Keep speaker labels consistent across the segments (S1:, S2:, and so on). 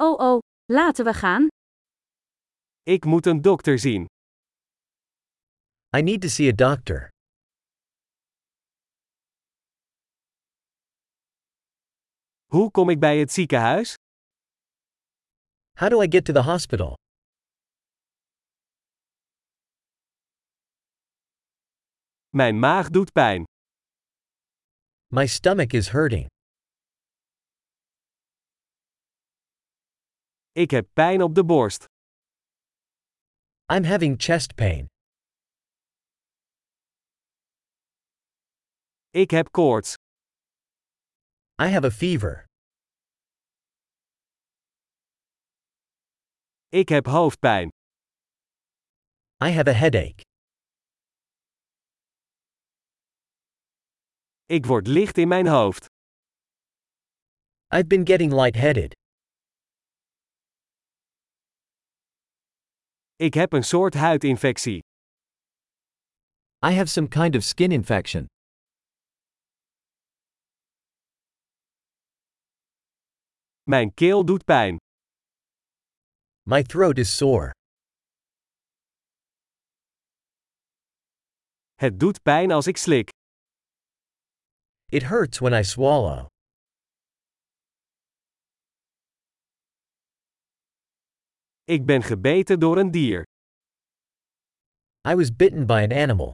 S1: Oh oh, laten we gaan.
S2: Ik moet een dokter zien.
S3: I need to see a doctor.
S2: Hoe kom ik bij het ziekenhuis?
S3: How do I get to the hospital?
S2: Mijn maag doet pijn.
S3: My stomach is hurting.
S2: Ik heb pijn op de borst.
S3: I'm having chest pain.
S2: Ik heb koorts.
S3: I have a fever.
S2: Ik heb hoofdpijn.
S3: I have a headache.
S2: Ik word licht in mijn hoofd.
S3: I've been getting lightheaded.
S2: Ik heb een soort huidinfectie.
S3: I have some kind of skin infection.
S2: Mijn keel doet pijn.
S3: My throat is sore.
S2: Het doet pijn als ik slik.
S3: It hurts when I swallow.
S2: Ik ben gebeten door een dier.
S3: I was bitten by an animal.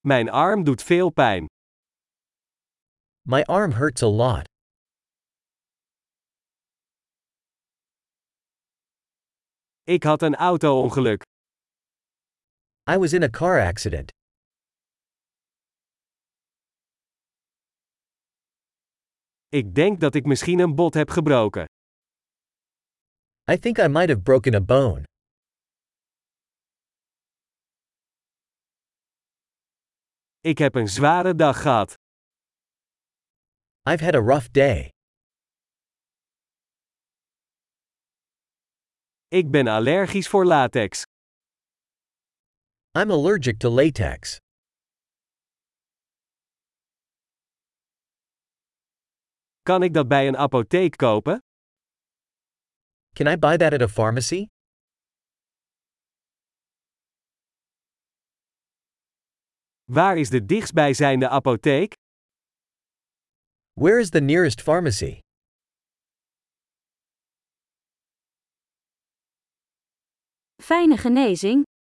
S2: Mijn arm doet veel pijn.
S3: My arm hurts a lot.
S2: Ik had een auto-ongeluk.
S3: I was in a car accident.
S2: Ik denk dat ik misschien een bot heb gebroken.
S3: I think I might have broken a bone.
S2: Ik heb een zware dag gehad.
S3: I've had a rough day.
S2: Ik ben allergisch voor latex.
S3: I'm allergic to latex.
S2: Kan ik dat bij een apotheek kopen?
S3: Can I buy that at a pharmacy?
S2: Waar is de dichtstbijzijnde apotheek?
S3: Where is the nearest pharmacy?
S1: Fijne genezing.